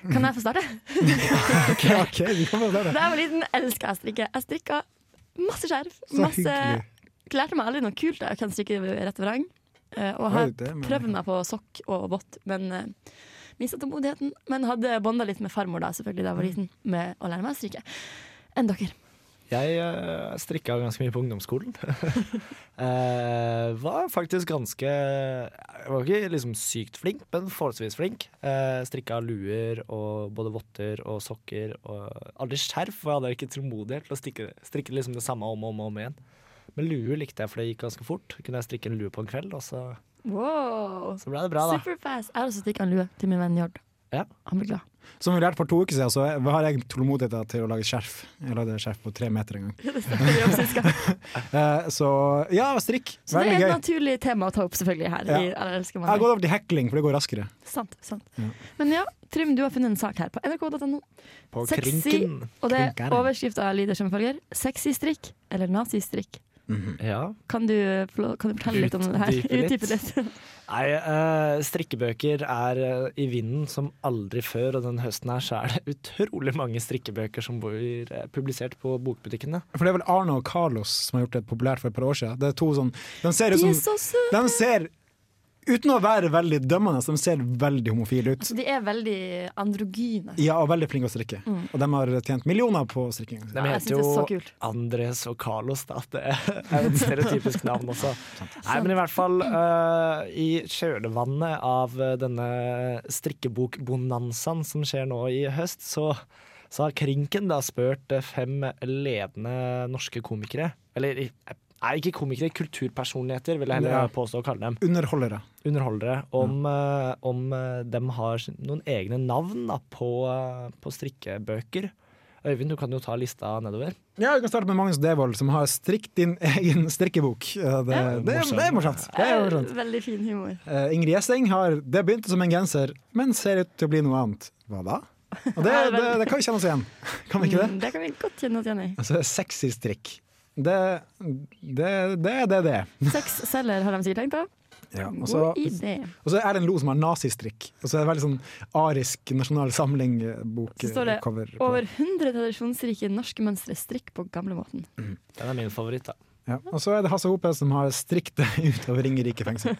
[SPEAKER 2] Mm.
[SPEAKER 4] Kan jeg få starte?
[SPEAKER 2] Ja, ok, vi kan bare gjøre det.
[SPEAKER 4] Da jeg var liten, elska jeg å strikke. Jeg strikka masse skjerf.
[SPEAKER 2] Så
[SPEAKER 4] Masse
[SPEAKER 2] hyggelig.
[SPEAKER 4] Lærte meg aldri noe kult. Jeg kan strikke rett vrang. eh, Og
[SPEAKER 2] Oi,
[SPEAKER 4] har
[SPEAKER 2] det må jeg-
[SPEAKER 4] prøvd meg på sokk og vått, men eh, mistet tålmodigheten. Men hadde bonda litt med farmor da selvfølgelig da jeg var
[SPEAKER 2] Mm.
[SPEAKER 4] liten, med å lære meg å strikke. Enn dere.
[SPEAKER 5] Jeg uh, strikka ganske mye på ungdomsskolen. Eh, var faktisk ganske Jeg var ikke liksom sykt flink, men forholdsvis flink. Uh, strikka luer og både votter og sokker og aldri skjerf, for jeg hadde ikke tålmodighet til å strikke, strikke liksom det samme om og om, og om igjen. Men luer likte jeg, for det gikk ganske fort. Kunne jeg strikke en lue på en kveld, og så,
[SPEAKER 4] Wow!
[SPEAKER 5] så ble det bra, da.
[SPEAKER 4] Superfast. Jeg har også strikka en lue til min venn Jord.
[SPEAKER 5] Ja.
[SPEAKER 4] Han ble glad.
[SPEAKER 2] Som vi lærte for to uker siden, så har jeg tålmodighet til å lage skjerf. Jeg lagde skjerf på tre meter en gang. Eh, Så ja, strikk.
[SPEAKER 4] Så det
[SPEAKER 2] Veldig
[SPEAKER 4] er
[SPEAKER 2] gøy.
[SPEAKER 4] et naturlig tema å ta opp selvfølgelig her.
[SPEAKER 2] Ja.
[SPEAKER 4] I Eller elsker
[SPEAKER 2] Jeg har
[SPEAKER 4] man det.
[SPEAKER 2] gått over til hekling, for det går raskere.
[SPEAKER 4] Sant, sant. Men ja, Trym, du har funnet en sak her på nrk.no.
[SPEAKER 5] På
[SPEAKER 4] Sexy,
[SPEAKER 5] krinken.
[SPEAKER 4] og det
[SPEAKER 2] Krinkeren.
[SPEAKER 4] overskrifta lyder som følger Sexy strikk eller nazistrikk.
[SPEAKER 5] Ja.
[SPEAKER 4] Kan du, få lov- kan du fortelle litt om det her?
[SPEAKER 5] Utdype litt.
[SPEAKER 4] Utdype litt.
[SPEAKER 5] Nei, eh, strikkebøker er eh, i vinden som aldri før, og den høsten her så er det utrolig mange strikkebøker som blir eh, publisert på bokbutikkene.
[SPEAKER 2] For det er vel Arne og Carlos som har gjort det populært for et par år siden. Det er to sånn, de ser ut
[SPEAKER 4] De
[SPEAKER 2] som
[SPEAKER 4] er så søte!
[SPEAKER 2] De ser, uten å være veldig dømmende, de ser veldig homofile ut.
[SPEAKER 4] Altså, De er veldig androgyne.
[SPEAKER 2] Ja, og veldig flinke å strikke. Og de har tjent millioner på strikking.
[SPEAKER 5] De
[SPEAKER 4] jeg
[SPEAKER 5] heter
[SPEAKER 4] synes det er så
[SPEAKER 5] jo
[SPEAKER 4] kult.
[SPEAKER 5] Andres og Carlos, da. Det er jo et stereotypisk navn også. Nei, men i hvert fall eh, i kjølvannet av eh, denne strikkebokbonanzaen som skjer nå i høst, så, så har Krinken da spurt eh, fem ledende norske komikere, eller eh, Nei, ikke komikere, kulturpersonligheter vil jeg heller
[SPEAKER 2] Ja.
[SPEAKER 5] påstå å kalle dem.
[SPEAKER 2] Underholdere.
[SPEAKER 5] Underholdere.
[SPEAKER 4] Mm.
[SPEAKER 5] Om, eh, om eh, dem har sin- noen egne navn da, på, eh, på strikkebøker. Øyvind, du kan jo ta lista nedover.
[SPEAKER 2] Ja, Vi kan starte med Magnus Devold, som har strikk din egen strikkebok. Eh, Det, det, er- det er morsomt. Det er morsomt.
[SPEAKER 4] Veldig fin humor.
[SPEAKER 2] Eh, Ingrid Gjessing har Det begynte som en genser, men ser ut til å bli noe annet. Hva da? Og det, det, det kan vi kjenne oss igjen. Kan vi ikke det?
[SPEAKER 4] Mm, det kan vi godt kjenne oss igjen i.
[SPEAKER 2] Altså, sexy strikk. Det det det er det. det. er.
[SPEAKER 4] Sex selger, har de sikkert tenkt på.
[SPEAKER 2] Ja, og så-
[SPEAKER 4] God idé.
[SPEAKER 2] og så er det en lo som har nazistrikk. Og så er det veldig sånn arisk nasjonal eh,
[SPEAKER 4] Så står det
[SPEAKER 2] samling-bok-cover.
[SPEAKER 4] over 100 tradisjonsrike norske mønstre strikk på gamlemåten.
[SPEAKER 5] Den er min favoritt, da.
[SPEAKER 2] Ja. Og så er det Hasse Hope som har strikk det utover Ringerike fengsel.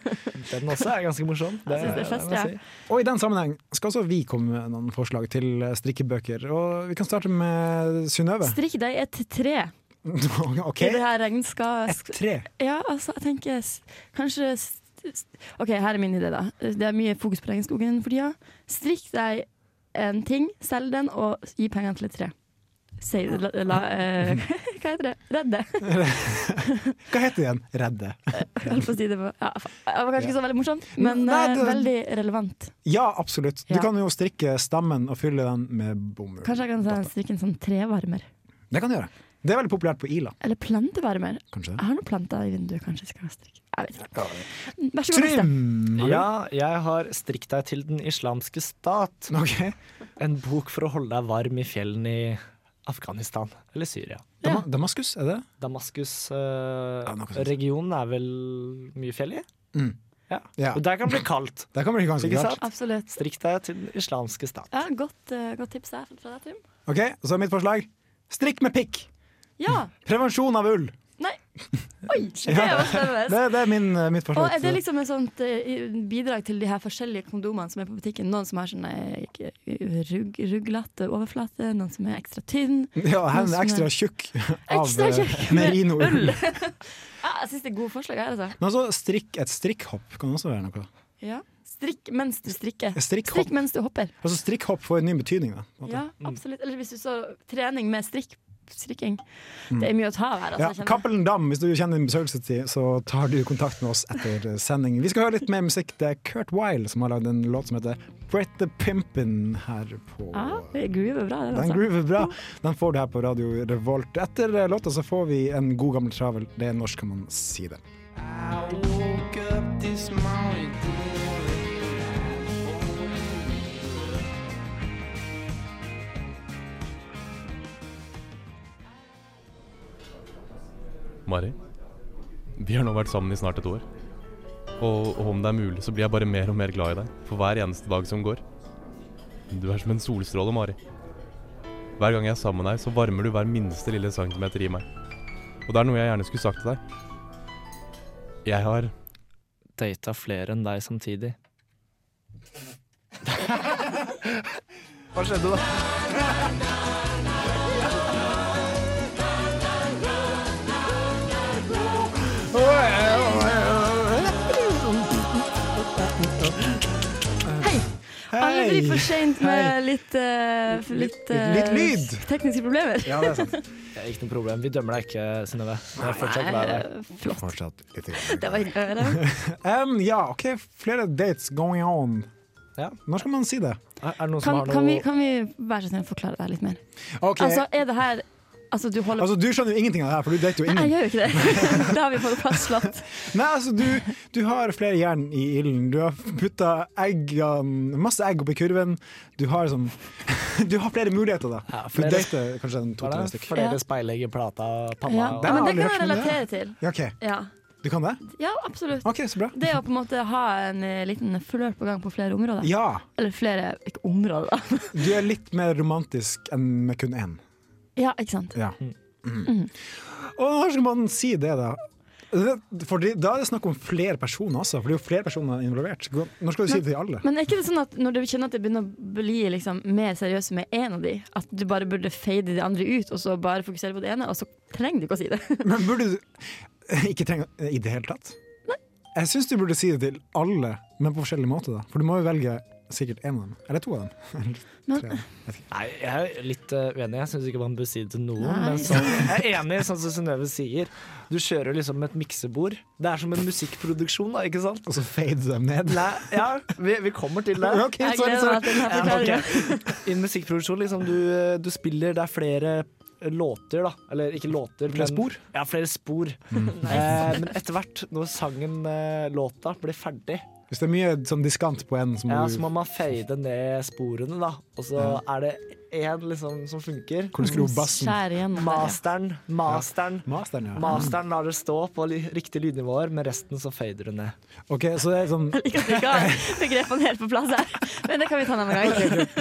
[SPEAKER 5] Den også er ganske morsom.
[SPEAKER 4] Jeg synes det er festlig,
[SPEAKER 5] må jeg
[SPEAKER 4] ja.
[SPEAKER 5] si.
[SPEAKER 2] Og i den sammenheng skal også vi komme med noen forslag til eh, strikkebøker. Og vi kan starte med Synnøve.
[SPEAKER 4] Strikk deg et tre
[SPEAKER 2] OK?
[SPEAKER 4] i det her regnskapet.
[SPEAKER 2] Tre.
[SPEAKER 4] Ja, altså, jeg tenker s- kanskje s- s- OK, her er min idé, da. Det er mye fokus på regnskogen for tida. Strikk deg en ting, selg den, og gi pengene til et tre. Si la, la, eh, Hva heter det? Redd det.
[SPEAKER 2] Hva heter det igjen? Redde.
[SPEAKER 4] Holdt på å si det. var- Ja, fa- det var kanskje ikke så veldig morsomt, men
[SPEAKER 2] Nei,
[SPEAKER 4] eh,
[SPEAKER 2] det-
[SPEAKER 4] veldig relevant.
[SPEAKER 2] Ja, absolutt. Du
[SPEAKER 4] Ja.
[SPEAKER 2] kan jo strikke stammen og fylle den med bomull.
[SPEAKER 4] Kanskje jeg kan strikke en sånn trevarmer.
[SPEAKER 2] Det kan du gjøre. Det er veldig populært på Ila,
[SPEAKER 4] Eller plantevarmer.
[SPEAKER 2] kanskje.
[SPEAKER 4] Jeg har noen planter i vinduet kanskje skal ha strikk. Jeg vet ikke. Mm, Vær så god, neste.
[SPEAKER 2] Trym!
[SPEAKER 5] Ja, jeg har 'Strikk deg til den islamske stat'.
[SPEAKER 2] Ok,
[SPEAKER 5] En bok for å holde deg varm i fjellene i Afghanistan eller Syria.
[SPEAKER 2] Dama Damaskus, er det? Ja, noe sånt.
[SPEAKER 5] Damaskus-regionen er vel mye fjell i?
[SPEAKER 2] Mm.
[SPEAKER 5] Ja.
[SPEAKER 2] Ja.
[SPEAKER 5] Og der kan det bli kaldt.
[SPEAKER 2] Der kan det bli ganske
[SPEAKER 5] Ikke
[SPEAKER 2] klart.
[SPEAKER 5] sant?
[SPEAKER 4] Absolutt.
[SPEAKER 5] Strikk deg til den islamske stat.
[SPEAKER 4] Ja, godt, eh, godt tips her fra deg, Trym.
[SPEAKER 2] Ok, så er mitt forslag strikk med pikk!
[SPEAKER 4] Ja!
[SPEAKER 2] Prevensjon av ull!
[SPEAKER 4] Nei. Oi, det var
[SPEAKER 2] Det,
[SPEAKER 4] spennende.
[SPEAKER 2] det er min, eh, mitt
[SPEAKER 4] Og
[SPEAKER 2] forslag.
[SPEAKER 4] er det liksom et sånt eh, bidrag til de her forskjellige kondomene som er på butikken? Noen som har sånn eh, rugg, rugglete overflate, noen som er ekstra tynn.
[SPEAKER 2] Ja,
[SPEAKER 4] Noe
[SPEAKER 2] Hen
[SPEAKER 4] som
[SPEAKER 2] er
[SPEAKER 4] er-
[SPEAKER 2] ekstra tjukk av
[SPEAKER 4] sånn Ekstra tjukk
[SPEAKER 2] eh, merino-ull.
[SPEAKER 4] ull. Ja, jeg syns det er gode forslag her, altså.
[SPEAKER 2] Men også strikk, et strikkhopp kan også være noe.
[SPEAKER 4] Ja. Strikk mens du strikker.
[SPEAKER 2] Strikkhopp.
[SPEAKER 4] Strikk Altså, mens du hopper.
[SPEAKER 2] Altså Strikkhopp får en ny betydning. da. på en måte.
[SPEAKER 4] Ja, absolutt. Eller hvis du så trening med strikk, strikking. Det er mye å ta av her.
[SPEAKER 2] Mm. Ja,
[SPEAKER 4] Altså, kjenner jeg.
[SPEAKER 2] Cappelen Dam, hvis du kjenner din besøkelsestid, så tar du kontakt med oss etter sending. Vi skal høre litt mer musikk. Det er Kurt Wilde som har lagd en låt som heter Brett the Pimpin her på
[SPEAKER 4] ja, det groover bra, det.
[SPEAKER 2] Den
[SPEAKER 4] Altså.
[SPEAKER 2] groover bra. Den får du her på Radio Revolt. Etter eh, låta så får vi en god gammel travel. Det er norsk, kan man si det.
[SPEAKER 9] Mari, vi har nå vært sammen i snart et år. Og, og om det er mulig, så blir jeg bare mer og mer glad i deg for hver eneste dag som går. Du er som en solstråle, Mari. Hver gang jeg er sammen med deg, så varmer du hver minste lille centimeter i meg. Og det er noe jeg gjerne skulle sagt til deg. Jeg har
[SPEAKER 5] Data flere enn deg samtidig.
[SPEAKER 2] Hva skjedde da?
[SPEAKER 4] Hei! Aldri
[SPEAKER 2] Hei.
[SPEAKER 4] for seint med litt, eh, litt, eh,
[SPEAKER 2] Litt lyd.
[SPEAKER 4] Tekniske problemer.
[SPEAKER 2] Ja, det er sant.
[SPEAKER 5] Det er ikke noe problem. Vi dømmer deg ikke, Synnøve. Du er fortsatt glad i deg.
[SPEAKER 4] Eh, Flott.
[SPEAKER 2] Fortsatt litt
[SPEAKER 4] Det var hyggelig å høre.
[SPEAKER 2] um, Ja, OK, flere dates going on.
[SPEAKER 5] Ja.
[SPEAKER 2] Når skal man si det?
[SPEAKER 5] Er er det noen som
[SPEAKER 4] Kan,
[SPEAKER 5] har
[SPEAKER 4] kan, vi,
[SPEAKER 5] noe
[SPEAKER 4] kan vi være så snill å forklare det her litt mer?
[SPEAKER 2] Ok,
[SPEAKER 4] Altså, er det her Altså, du holder
[SPEAKER 2] altså Du skjønner jo ingenting av det her, for du dater jo
[SPEAKER 4] Nei,
[SPEAKER 2] ingen.
[SPEAKER 4] jeg gjør jo ikke det. Det har vi fått fastslått.
[SPEAKER 2] Nei, altså du, du har flere jern i ilden. Du har putta eggene- masse egg oppi kurven. Du har sånn Du har flere muligheter, da.
[SPEAKER 5] Ja,
[SPEAKER 2] du
[SPEAKER 5] flere-
[SPEAKER 2] dater kanskje en
[SPEAKER 5] Hva
[SPEAKER 2] to-tre
[SPEAKER 5] er det?
[SPEAKER 2] stykker.
[SPEAKER 4] Ja.
[SPEAKER 5] Flere speilegg i plata, panna
[SPEAKER 4] Ja.
[SPEAKER 5] og
[SPEAKER 2] Den
[SPEAKER 4] Men
[SPEAKER 2] har jeg
[SPEAKER 4] det kan jeg
[SPEAKER 2] aldri hørt
[SPEAKER 4] relatere til.
[SPEAKER 2] Ja, OK.
[SPEAKER 4] Ja,
[SPEAKER 2] Du kan det?
[SPEAKER 4] ja absolutt.
[SPEAKER 2] OK, så bra.
[SPEAKER 4] Det å på en måte ha en eh, liten flørt på gang på flere områder.
[SPEAKER 2] Ja.
[SPEAKER 4] Eller flere ikke områder, da.
[SPEAKER 2] Du er litt mer romantisk enn med kun én.
[SPEAKER 4] Ja, ikke sant.
[SPEAKER 2] Ja. Mm. Og hvordan skal man si det, da? For da er det snakk om flere personer også, for det er jo flere personer involvert. Når skal du si det til alle?
[SPEAKER 4] Men er ikke det sånn at når du kjenner at det begynner å bli liksom mer seriøst med én av de, at du bare burde fade de andre ut, og så bare fokusere på det ene, og så trenger du ikke å si det?
[SPEAKER 2] Men burde du ikke trenge i det hele tatt? Jeg syns du burde si det til alle, men på forskjellig måte. da For du må jo velge sikkert én av dem. Eller to av dem.
[SPEAKER 4] Men-
[SPEAKER 2] Tre av dem.
[SPEAKER 5] Nei, jeg er litt eh, uenig. Jeg syns ikke man bør si det til noen.
[SPEAKER 4] Nei.
[SPEAKER 5] Men sånn, jeg er enig, sånn som Synnøve sier. Du kjører liksom et miksebord. Det er som en musikkproduksjon, da, ikke sant?
[SPEAKER 2] Og så fade dem ned.
[SPEAKER 5] Nei, ja, vi, vi kommer til det.
[SPEAKER 2] Ok,
[SPEAKER 4] Jeg
[SPEAKER 2] sorry,
[SPEAKER 4] gleder
[SPEAKER 2] sorry.
[SPEAKER 4] meg til denne
[SPEAKER 5] Ja,
[SPEAKER 4] forklaringen.
[SPEAKER 5] ok. I en musikkproduksjon, liksom, du, du spiller Det er flere eh, låter, da. Eller ikke låter,
[SPEAKER 2] Flere spor?
[SPEAKER 5] Ja, flere spor.
[SPEAKER 4] Mm.
[SPEAKER 5] Eh, men etter hvert, når sangen, eh, låta, blir ferdig,
[SPEAKER 2] Hvis det er mye sånn diskant på en, så må
[SPEAKER 5] ja,
[SPEAKER 2] du
[SPEAKER 5] så må man fade ned sporene, da. Og så er det én liksom, som funker.
[SPEAKER 2] Hvor du skrur bassen.
[SPEAKER 4] Skjære igjennom. der,
[SPEAKER 5] Masteren. Masteren.
[SPEAKER 2] Masteren, ja.
[SPEAKER 5] Masteren lar det stå på li- riktige lydnivåer, men resten så fader det ned.
[SPEAKER 2] Ok, så det er sånn
[SPEAKER 4] ja. Ikke at vi ikke har begrepene helt på plass her, men det kan vi ta en annen gang.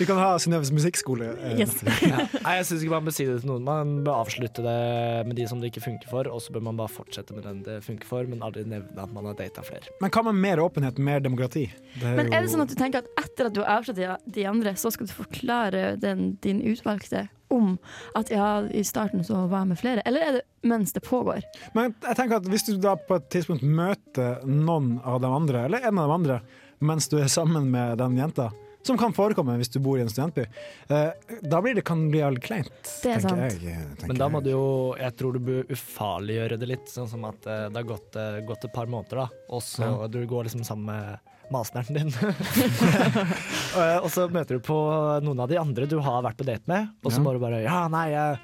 [SPEAKER 2] Vi kan ha Synnøves musikkskole. eh,
[SPEAKER 4] Yes.
[SPEAKER 2] neste gang.
[SPEAKER 5] Nei, jeg synes ikke man bør si det til noen. Man bør avslutte det med de som det ikke funker for, og så bør man bare fortsette med den det funker for, men aldri nevne at man har data flere.
[SPEAKER 2] Men hva med mer åpenhet, mer demokrati? Det
[SPEAKER 4] Men er det
[SPEAKER 2] jo-
[SPEAKER 4] sånn at du tenker at etter at du har avslørt de- de andre, så skal du forklare den, din utvalgte om at ja, i starten så var jeg med flere, eller er det mens det pågår?
[SPEAKER 2] Men jeg tenker at hvis du da på et tidspunkt møter noen av de andre, eller en av de andre, mens du er sammen med den jenta, som kan forekomme hvis du bor i en studentby, eh, da blir det, kan det bli all kleint.
[SPEAKER 4] Det er
[SPEAKER 2] tenker
[SPEAKER 4] sant.
[SPEAKER 2] jeg, eh, tenker
[SPEAKER 5] Men da må
[SPEAKER 2] jeg.
[SPEAKER 5] du jo, jeg tror du bør ufarliggjøre det litt, sånn som at eh, det har gått, eh, gått et par måneder, da, og så du går liksom sammen med masteren din. Eh, og så møter du på noen av de andre du har vært på date med, og så
[SPEAKER 2] Ja.
[SPEAKER 5] må du bare Ja, nei, jeg,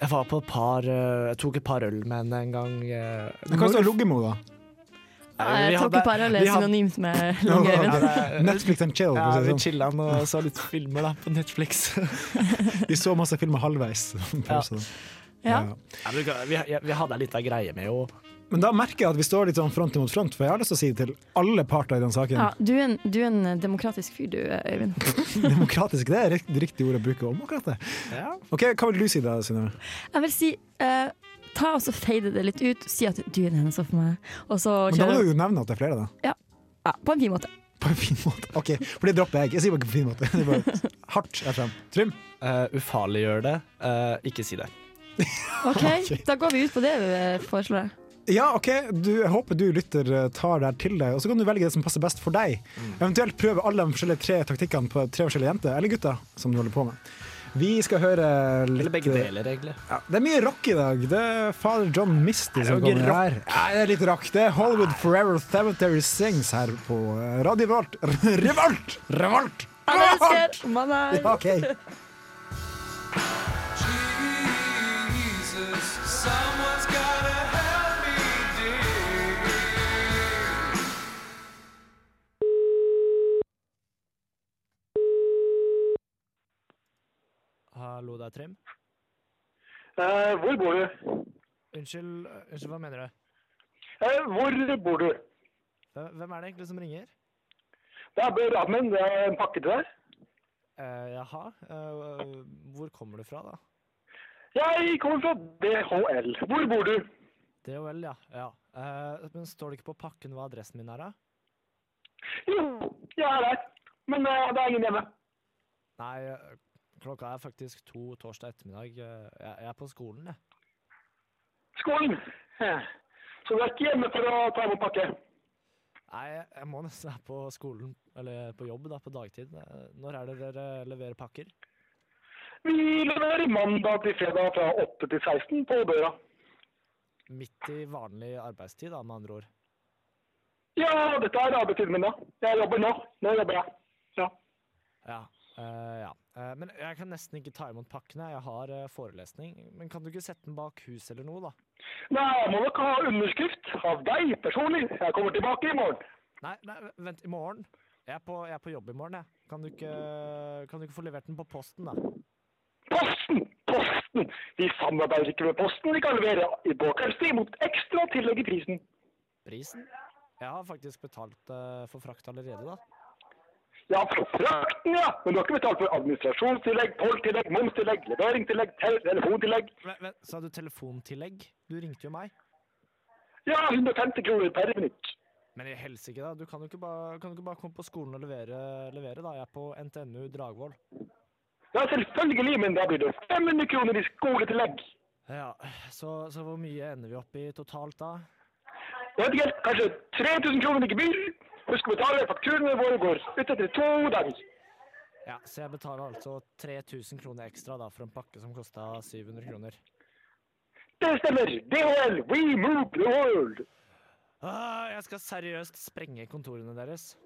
[SPEAKER 5] jeg var på et par eh, Jeg tok et par øl med henne en gang. eh,
[SPEAKER 2] Men hva hvis du har ligget med henne, da?
[SPEAKER 5] Nei, vi
[SPEAKER 4] Jeg tok
[SPEAKER 5] hadde-
[SPEAKER 4] et par øl
[SPEAKER 5] vi
[SPEAKER 4] er
[SPEAKER 5] hadde-
[SPEAKER 4] synonymt med Lange Øyvind.
[SPEAKER 5] Ja, det er-
[SPEAKER 2] Netflix and chill.
[SPEAKER 5] Eh, Ja,
[SPEAKER 2] for å si
[SPEAKER 5] vi
[SPEAKER 2] det sånn.
[SPEAKER 5] chilla og så litt filmer da på Netflix.
[SPEAKER 2] Vi så masse filmer halvveis. Pause.
[SPEAKER 4] Ja.
[SPEAKER 2] sånn. Ja.
[SPEAKER 5] Ja, men vi, ja, vi hadde ei lita greie med jo
[SPEAKER 2] Men da merker jeg at vi står litt sånn front mot front, for jeg har lyst til å si det til alle parter i den saken.
[SPEAKER 4] Ja, du, er en, du er en demokratisk fyr, du, Øyvind.
[SPEAKER 2] Demokratisk, det er rikt- det riktige ordet å bruke om akkurat det. Ok, Hva vil du si da, Synnøve?
[SPEAKER 4] Jeg vil si eh, ta og så fade det litt ut. Si at du er den eneste for meg. Og så
[SPEAKER 2] Men Da må
[SPEAKER 4] kjøre
[SPEAKER 2] du jo nevne at det er flere, da.
[SPEAKER 4] ja, på en fin måte.
[SPEAKER 2] På en fin måte. Ok, for det dropper jeg. Jeg sier bare på en fin måte. Det er bare hardt er frem. Trym.
[SPEAKER 5] uh, Ufarliggjør det. eh, ikke si det.
[SPEAKER 4] OK, da går vi ut på det vi eh, foreslår.
[SPEAKER 2] Ja, ok, du, jeg håper du lytter eh, tar det her til deg, og så kan du velge det som passer best for deg.
[SPEAKER 5] Mm.
[SPEAKER 2] Eventuelt prøve alle de forskjellige tre taktikkene på tre forskjellige jenter, eller gutter, som du holder på med. Vi skal høre litt
[SPEAKER 5] Eller begge deler, egentlig.
[SPEAKER 2] Ja, det er mye rock i dag. Det er Father John Misty som
[SPEAKER 5] jo ikke
[SPEAKER 2] kommer her. Ja, det er litt rock. Det er Hollywood Forever Cemetery Sings her på eh, Radio Revolt. Revolt! Revolt!
[SPEAKER 4] Ha det, Øystein! Mandag!
[SPEAKER 2] Ja, OK.
[SPEAKER 5] Hallo, det er Trym.
[SPEAKER 10] Eh, hvor bor du?
[SPEAKER 5] Unnskyld, eh, unnskyld, hva mener du?
[SPEAKER 10] Eh, hvor bor du?
[SPEAKER 5] Hvem- Hvem er det egentlig som ringer?
[SPEAKER 10] Det er Rammen. Det er en pakke til deg.
[SPEAKER 5] Eh, jaha, eh, hvor kommer du fra, da?
[SPEAKER 10] Jeg kommer fra DHL. Hvor bor du?
[SPEAKER 5] DHL, ja. ja. Eh, men står det ikke på pakken hva adressen min er, da?
[SPEAKER 10] Jo, jeg er der. Men eh, det er ingen hjemme.
[SPEAKER 5] Nei, eh, klokka er faktisk to torsdag ettermiddag. Eh, jeg, jeg er på skolen, jeg.
[SPEAKER 10] Skolen. Eh, Så du er ikke hjemme for å ta imot pakke?
[SPEAKER 5] Nei, jeg- jeg må nesten være på skolen, eller på jobb da, på dagtid. Eh, Når er det dere leverer pakker?
[SPEAKER 10] Vi leverer mandag til fredag fra 8 til 16 på døra.
[SPEAKER 5] Midt i vanlig arbeidstid, da, med andre ord.
[SPEAKER 10] Ja, dette er arbeidstiden min, da. Jeg jobber nå. Nå jobber jeg. Ja.
[SPEAKER 5] Ja. eh, ja. Eh, men jeg kan nesten ikke ta imot pakkene, jeg har eh, forelesning. Men kan du ikke sette den bak huset eller noe, da?
[SPEAKER 10] Nei, jeg må nok ha underskrift av deg personlig. Jeg kommer tilbake i morgen.
[SPEAKER 5] Nei, nei, vent, i morgen? Jeg er på, jeg er på jobb i morgen, jeg. Kan du, ikke, kan du ikke få levert den på posten, da?
[SPEAKER 10] Posten! Posten! Vi samarbeider ikke med Posten. Vi kan levere i påkveldstid mot ekstra tillegg i prisen.
[SPEAKER 5] Prisen? Jeg har faktisk betalt eh, for frakt allerede, da.
[SPEAKER 10] Ja, for frakten, ja! Men du har ikke betalt for administrasjonstillegg, tolltillegg, momstillegg, leveringstillegg, tel- telefontillegg.
[SPEAKER 5] Men, men, sa du telefontillegg? Du ringte jo meg.
[SPEAKER 10] Ja, 150 kroner per minutt.
[SPEAKER 5] Men i helsike, da. Du kan jo ikke bare, kan du ikke bare komme på skolen og levere, levere, da. Jeg er på NTNU Dragvoll.
[SPEAKER 10] Ja, selvfølgelig, men da blir det 500 kroner i skoletillegg.
[SPEAKER 5] Ja, så, så hvor mye ender vi opp i totalt da?
[SPEAKER 10] Jeg vet ikke helt, kanskje 3000 kroner i gebyr? Husk å betale fakturene våre går ut etter to dager.
[SPEAKER 5] Ja, Så jeg betaler altså 3000 kroner ekstra da for en pakke som kosta 700 kroner.
[SPEAKER 10] Det stemmer! DHL, we move the world!
[SPEAKER 5] Ah, jeg skal seriøst sprenge kontorene deres.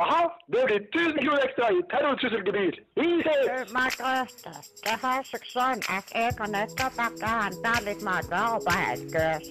[SPEAKER 10] Aha, det blir 1000 kroner ekstra i terrortrusselgebyr. Vi ses!
[SPEAKER 11] Margrethe, det har seg sånn at jeg har nettopp pakka handla litt matvarer på Helgøs.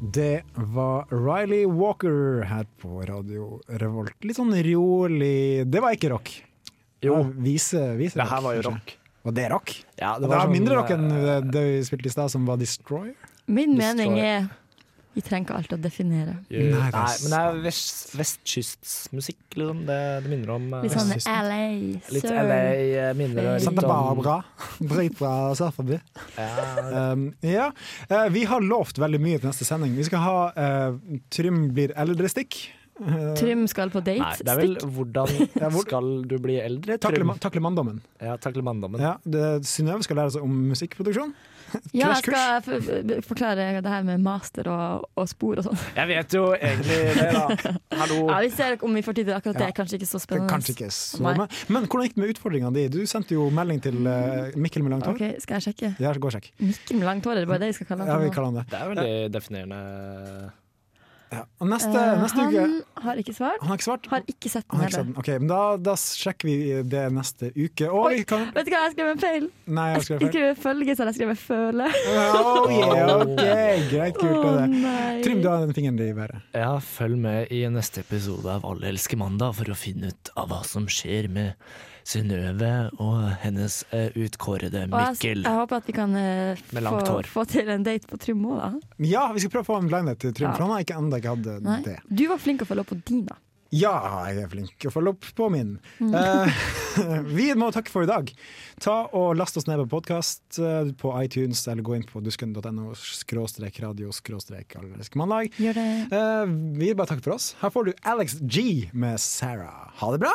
[SPEAKER 2] Det var Riley Walker her på Radio Revolt. Litt sånn rolig Det var ikke rock. Jo. Vise, vise
[SPEAKER 5] Det her var jo
[SPEAKER 2] kanskje.
[SPEAKER 5] rock.
[SPEAKER 2] Og det er rock?
[SPEAKER 5] Ja,
[SPEAKER 2] det,
[SPEAKER 5] var
[SPEAKER 2] var
[SPEAKER 5] sånn,
[SPEAKER 2] mindre rock enn
[SPEAKER 5] eh,
[SPEAKER 2] det- det vi spilte i stad, som var Destroyer.
[SPEAKER 4] Min
[SPEAKER 5] Det står-
[SPEAKER 4] mening er Vi trenger ikke alltid å definere.
[SPEAKER 5] Nei, men det er vest, vestkystmusikk, liksom. Det, det minner om eh,
[SPEAKER 4] Litt sånn LA,
[SPEAKER 5] Litt
[SPEAKER 4] søren.
[SPEAKER 5] LA eh, minner litt sånn-
[SPEAKER 2] Santa
[SPEAKER 5] om-
[SPEAKER 2] Barbara. Dritbra surfeby.
[SPEAKER 5] Ja.
[SPEAKER 2] Um, ja. Eh, vi har lovt veldig mye til neste sending. Vi skal ha eh, Trym blir eldre stikk. Eh,
[SPEAKER 4] Trym skal på date.
[SPEAKER 5] Nei, det er vel
[SPEAKER 4] Stikk.
[SPEAKER 5] hvordan
[SPEAKER 2] Ja, hvor-
[SPEAKER 5] skal du bli eldre?
[SPEAKER 2] Takle,
[SPEAKER 5] Trym?
[SPEAKER 2] ma- takle manndommen.
[SPEAKER 5] Ja, takle manndommen.
[SPEAKER 2] Ja, det- Synnøve skal lære seg om musikkproduksjon.
[SPEAKER 4] Ja,
[SPEAKER 2] Krasjkurs.
[SPEAKER 4] jeg skal for- for- forklare det her med master og, og spor og sånn.
[SPEAKER 5] Jeg vet jo egentlig det, da. Hallo.
[SPEAKER 4] Ja, vi ser om vi får tid til akkurat det. er Kanskje ikke
[SPEAKER 2] Det
[SPEAKER 4] så
[SPEAKER 2] er
[SPEAKER 4] spennende.
[SPEAKER 2] kanskje ikke så
[SPEAKER 4] Nei.
[SPEAKER 2] men, men hvordan gikk det med utfordringene di? Du sendte jo melding til eh, Mikkel med langt hår.
[SPEAKER 4] Ok, Skal jeg sjekke?
[SPEAKER 2] Ja, gå og sjekk.
[SPEAKER 4] Mikkel med langt hår, er det bare det jeg skal kalle
[SPEAKER 2] Ja, vi
[SPEAKER 4] han? for nå?
[SPEAKER 2] kaller han det.
[SPEAKER 5] Det er veldig definerende.
[SPEAKER 2] Og neste,
[SPEAKER 4] Eh,
[SPEAKER 2] neste uke
[SPEAKER 4] han har ikke svart.
[SPEAKER 2] Han har ikke svart?
[SPEAKER 4] Har ikke sett den
[SPEAKER 2] Han har ikke
[SPEAKER 4] heller.
[SPEAKER 2] sett den. Ok, men da, da sjekker vi det neste uke. Og vi kan
[SPEAKER 4] Vet du hva, jeg skrev en feil.
[SPEAKER 2] Nei,
[SPEAKER 4] Jeg
[SPEAKER 2] jeg skrev feil.
[SPEAKER 4] skrev følge, så jeg skrev føle.
[SPEAKER 2] Oh, yeah, ok, greit, kult.
[SPEAKER 4] Å
[SPEAKER 2] det er det.
[SPEAKER 4] nei.
[SPEAKER 2] Trym, du har den fingeren i været.
[SPEAKER 5] Ja, følg med i neste episode av Alle elsker mandag for å finne ut av hva som skjer med Synnøve og hennes eh, utkårede
[SPEAKER 4] Og jeg,
[SPEAKER 5] Mikkel.
[SPEAKER 4] jeg håper at vi kan eh,
[SPEAKER 5] Med
[SPEAKER 4] få,
[SPEAKER 5] langt hår.
[SPEAKER 4] få til en date på Trym òg, da.
[SPEAKER 2] Ja, vi skal prøve å få en blindhet til Trym,
[SPEAKER 4] Ja.
[SPEAKER 2] for han har ikke ennå ikke hatt eh,
[SPEAKER 4] Nei.
[SPEAKER 2] det.
[SPEAKER 4] Du var flink å følge opp på Dina.
[SPEAKER 2] Ja, jeg er flink å følge opp på min.
[SPEAKER 4] Mm.
[SPEAKER 2] Eh, vi må takke for i dag. Ta og Last oss ned på podkast på iTunes, eller gå inn på dusken.no skråstrek radio skråstrek allerske mandag.
[SPEAKER 4] Gjør det.
[SPEAKER 2] Eh, vi vil bare takke for oss. Her får du Alex G med Sarah. Ha det bra!